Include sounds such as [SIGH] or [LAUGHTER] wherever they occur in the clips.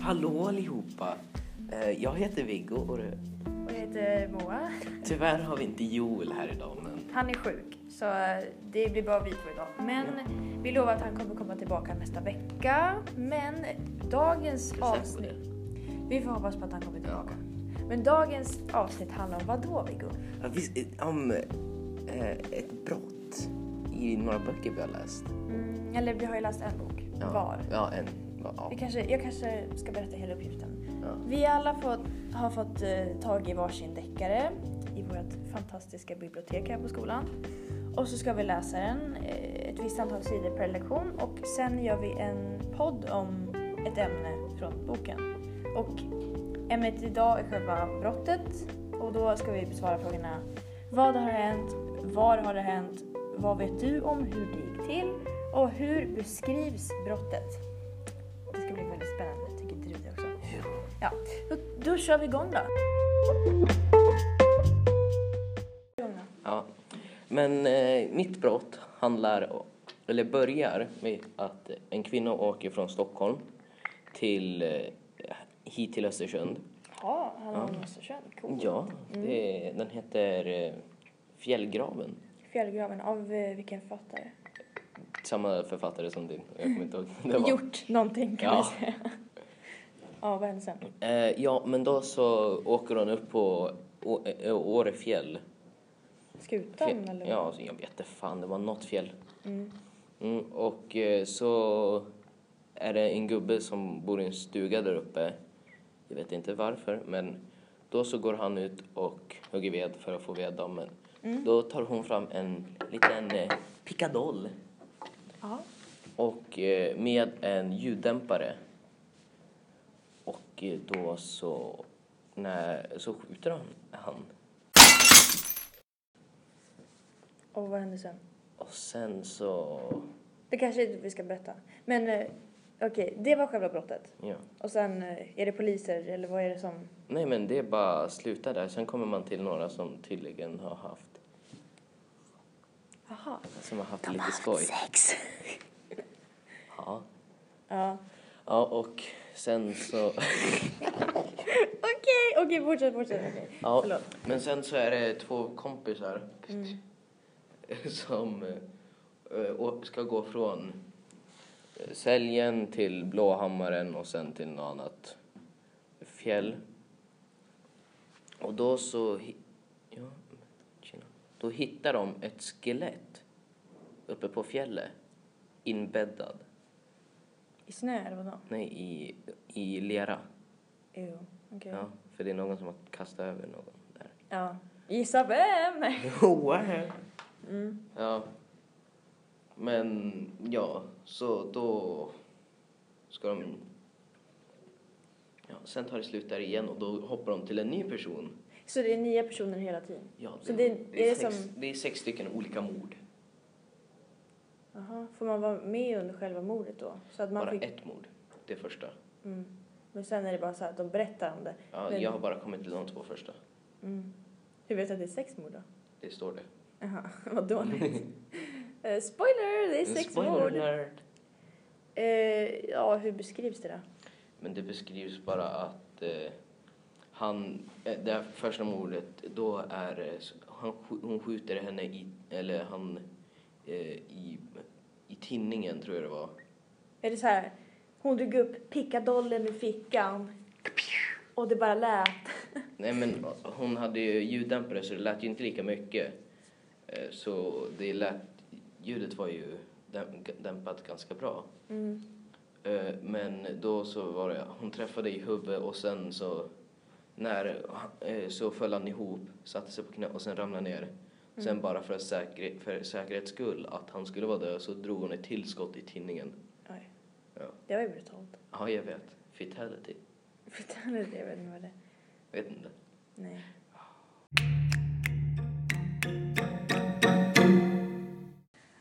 Hallå allihopa! Eh, Jag heter Viggo och det- Och jag heter Moa. tyvärr har vi inte Joel här idag men Han är sjuk, så eh, det blir bara vi två idag. Men vi lovar att han kommer komma tillbaka nästa vecka. Men dagens Ska vi släppa avsnitt... Vi får hoppas på att han kommer tillbaka. Men dagens avsnitt handlar om vad då, Viggo? ja, visst, eh, om eh, ett brott i några böcker vi har läst. Mm, eller vi har ju läst en bok Ja. var. Ja, en. Ja. Vi kanske, jag kanske ska berätta hela uppgiften. Ja. Vi alla fått, har fått eh, tag i varsin deckare i vårt fantastiska bibliotek här på skolan. Och så ska vi läsa den eh, ett visst antal sidor per lektion och sen gör vi en podd om ett ämne från boken. Och ämnet idag är själva brottet och då ska vi besvara frågorna Vad har hänt? Var har det hänt? Vad vet du om hur det gick till? Och hur beskrivs brottet? Det ska bli väldigt spännande, tycker inte du det också? Ja, då, då kör vi igång då. Ja. Men eh, mitt brott handlar, o- eller börjar med att en kvinna åker från Stockholm till, eh, hit till Östersund. Ja, han har ja. Östersjön. Cool. Ja, det, den heter eh, Fjällgraven. Fjällgraven av eh, vilken författare? Samma författare som din. Jag kommer inte ihåg. vem det var. Gjort någonting kan Ja. vi säga. Ja, vad hände sen? Eh, ja, men då så åker hon upp på Å- Ö- Åre fjäll. Skutan Fjäll- eller? Ja, alltså, jag vet inte fan, det var något fjäll. Mm. Mm, och eh, så är det en gubbe som bor i en stuga där uppe. Jag vet inte varför, men då så går han ut och hugger ved för att få ved av men Mm. Då tar hon fram en liten eh, pickadoll Ja. och eh, med en ljuddämpare. Och eh, då så, när, så skjuter han, han. Och vad hände sen? Och sen så, Det kanske inte vi ska berätta. Men eh, okej, det var själva brottet. ja. Och sen eh, är det poliser eller vad är det som? Nej men det är bara sluta där. Sen kommer man till några som tydligen har haft, Aha. som har haft lite skoj. Sex. Ja. Ja. ja, och sen så, [LAUGHS] Okej, okej, fortsätt, fortsätt. okej. ja. Förlåt. Men sen så är det två kompisar [LAUGHS] som eh, å- ska gå från eh, Säljen till Blåhammaren och sen till något annat fjäll. Och då så hi- ja, tjena. då hittar de ett skelett uppe på fjället inbäddad, I snö eller vadå? nej i, i lera. Jo, okej. Ja, för det är någon som har kastat över någon där. Ja. Gissa vem? Nej. wow. Ja. Men ja, så då ska de... Ja, sen tar det slut där igen och då hoppar de till en ny person. Så det är nya personer hela tiden? Ja, Så det- är det sex, som- det är sex stycken olika mord. Aha. Får man vara med under själva mordet då? Så att man bara fick... ett mord, det första. Mm. Men sen är det bara så här att de berättar om det. Ja, Men- Jag har bara kommit till de två första. Mm. Hur vet du att det är sex mord då? Det står det. Jaha, [LAUGHS] vad dåligt. [LAUGHS] Eh, spoiler! Det är Men sex spoiler mord. alert. Eh, ja, hur beskrivs det då? Men det beskrivs bara att eh, han, eh, det här första mordet, då är eh, s- han, sk- hon skjuter henne i, eller han, eh, i, i tinningen tror jag det var. Är det så här, hon drog upp pickadollen ur fickan och det bara lät. Nej men eh, hon hade ju ljuddämpare så det lät ju inte lika mycket. Eh, så det lät, ljudet var ju däm- g- dämpat ganska bra. Mm. Eh, Men då så var det, hon träffade i huvudet och sen så när eh, så föll han ihop, satte sig på knä och sen ramlade ner. Mm. Sen bara för, säker, för säkerhets skull, att han skulle vara död, så drog hon ett tillskott i tinningen. Oj, Ja, det var ju brutalt. [LAUGHS] ja jag vet. Fatality. Fattar du det? Jag vet inte vad det är. Vet inte. Nej.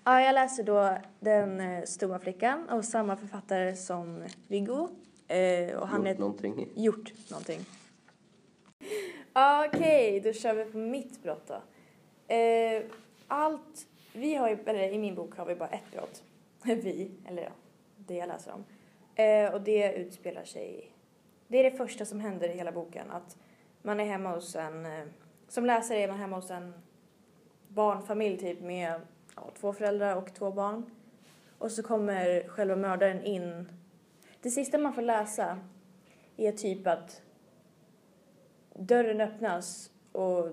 Ja, jag läser då Den eh, stora flickan av samma författare som Viggo. Eh, och han Gjort heter någonting. Gjort någonting. Okej, då kör vi på mitt brott då. Eh, allt, vi har ju, eller i min bok har vi bara ett [LAUGHS] brott. Vi, eller ja, det jag läser om. Eh, och det utspelar sig Det är det första som händer i hela boken. Att man är hemma hos en... eh, Som läsare är man hemma hos en barnfamilj typ med ja, två föräldrar och två barn. Och så kommer själva mördaren in. Det sista man får läsa är typ att dörren öppnas och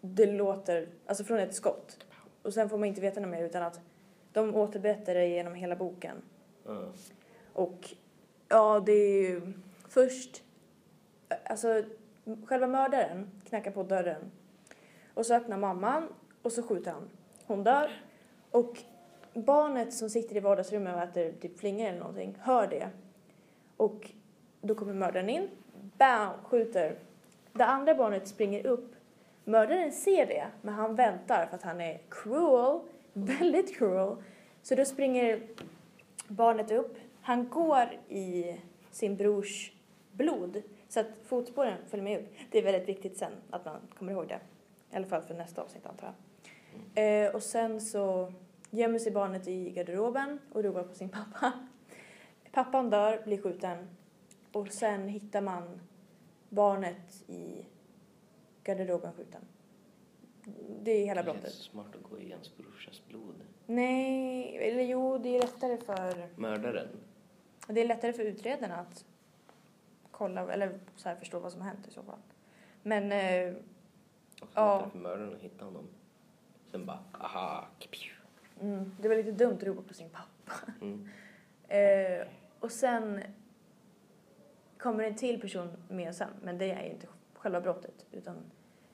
det låter, alltså från ett skott. Och sen får man inte veta något mer utan att de återberättar det genom hela boken. Ja. Och ja, det är ju först... Alltså, själva mördaren knackar på dörren. Och så öppnar mamman och så skjuter han. Hon dör. Och barnet som sitter i vardagsrummet och äter typ flingor eller någonting hör det. Och då kommer mördaren in. Bam! Skjuter. Det andra barnet springer upp. Mördaren ser det, men han väntar för att han är cruel. Väldigt cruel. Så då springer barnet upp. Han går i sin brors blod så att fotspåren följer med upp. Det är väldigt viktigt sen att man kommer ihåg det. I alla fall för nästa avsnitt antar jag. Eh, och sen så gömmer sig barnet i garderoben och ropar på sin pappa. Pappan dör, blir skjuten och sen hittar man barnet i garderoben skjuten. Det är hela Det är brottet. smart att gå i ens brorsas blod. Nej, eller jo, det är lättare för Mördaren. och Det är lättare för utredarna att kolla eller så här förstå vad som har hänt i så fall. Men eh, Och så Ja. ja. för mördaren att hitta honom. Sen bara, aha, kipju. mm, det var lite dumt att ropa på sin pappa. Mm. [LAUGHS] Eh, och sen kommer en till person med sen, men det är ju inte själva brottet. Utan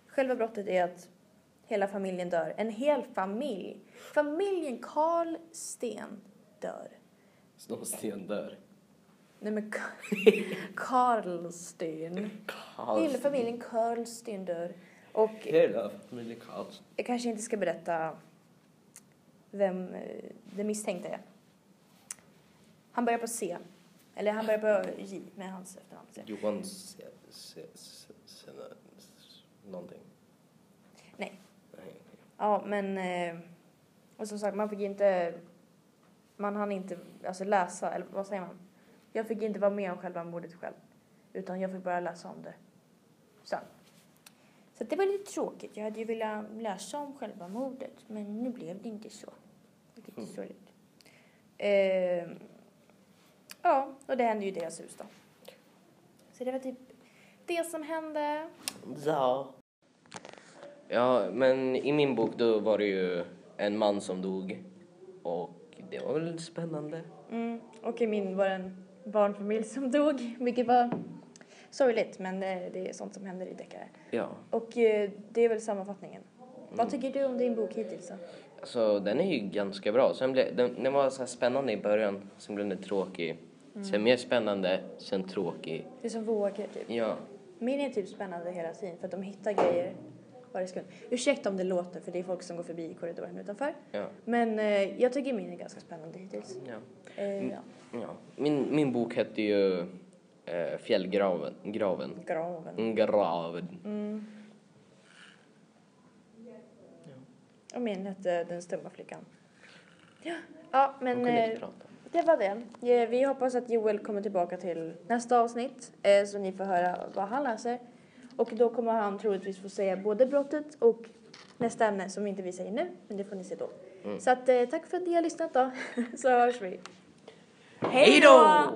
själva brottet är att hela familjen dör. En hel familj. Familjen Karl Sten dör. Snåsten dör. Nej men [LAUGHS] Karlsten. Hela familjen Karlsten dör. Och Hela familjen Karlsson. Jag kanske inte ska berätta vem eh, den misstänkte är. Han börjar på C. Eller han börjar på J med hans efternamn. Johan se, se, se, se, s- någonting. Nej. Nej. Ja, men... eh, Och som sagt, man fick inte... Man hann inte alltså, läsa, eller vad säger man? Jag fick inte vara med om själva mordet själv. Utan jag fick bara läsa om det sen. Så det var lite tråkigt. Jag hade ju velat läsa om själva mordet, men nu blev det inte så. Vilket är Mm. sorgligt. Eh, ja, och det hände ju i deras hus då. Så det var typ det som hände. Ja. Ja, men i min bok då var det ju en man som dog. Och det var väl spännande. Mm, och i min var det en barnfamilj som dog, [LAUGHS] vilket var sorgligt, men eh, det är sånt som händer i deckare. Ja. Och eh, det är väl sammanfattningen. Vad Mm. tycker du om din bok hittills då? Alltså den är ju ganska bra. Sen blev, den, den var så här spännande i början, sen blev den tråkig. Sen mer spännande, sen tråkig. Det är som vågor typ. Ja. Min är typ spännande hela tiden för att de hittar grejer varje sekund. Ursäkta om det låter för det är folk som går förbi i korridoren utanför. Ja. Men eh, jag tycker min är ganska spännande hittills. ja. Eh, Mm. ja. ja. Min, min bok hette ju eh, Fjällgraven. Graven. Graven. Graven. Mm. Och min hette Den stumma flickan. Ja, ja Hon men kunde eh, inte prata. det var det. Eh, Vi hoppas att Joel kommer tillbaka till nästa avsnitt eh, så ni får höra vad han läser. Och då kommer han troligtvis få säga både brottet och nästa ämne som inte vi säger nu, men det får ni se då. Mm. [LAUGHS] Så att, eh, tack för att ni har lyssnat då, så hörs vi. Hej då!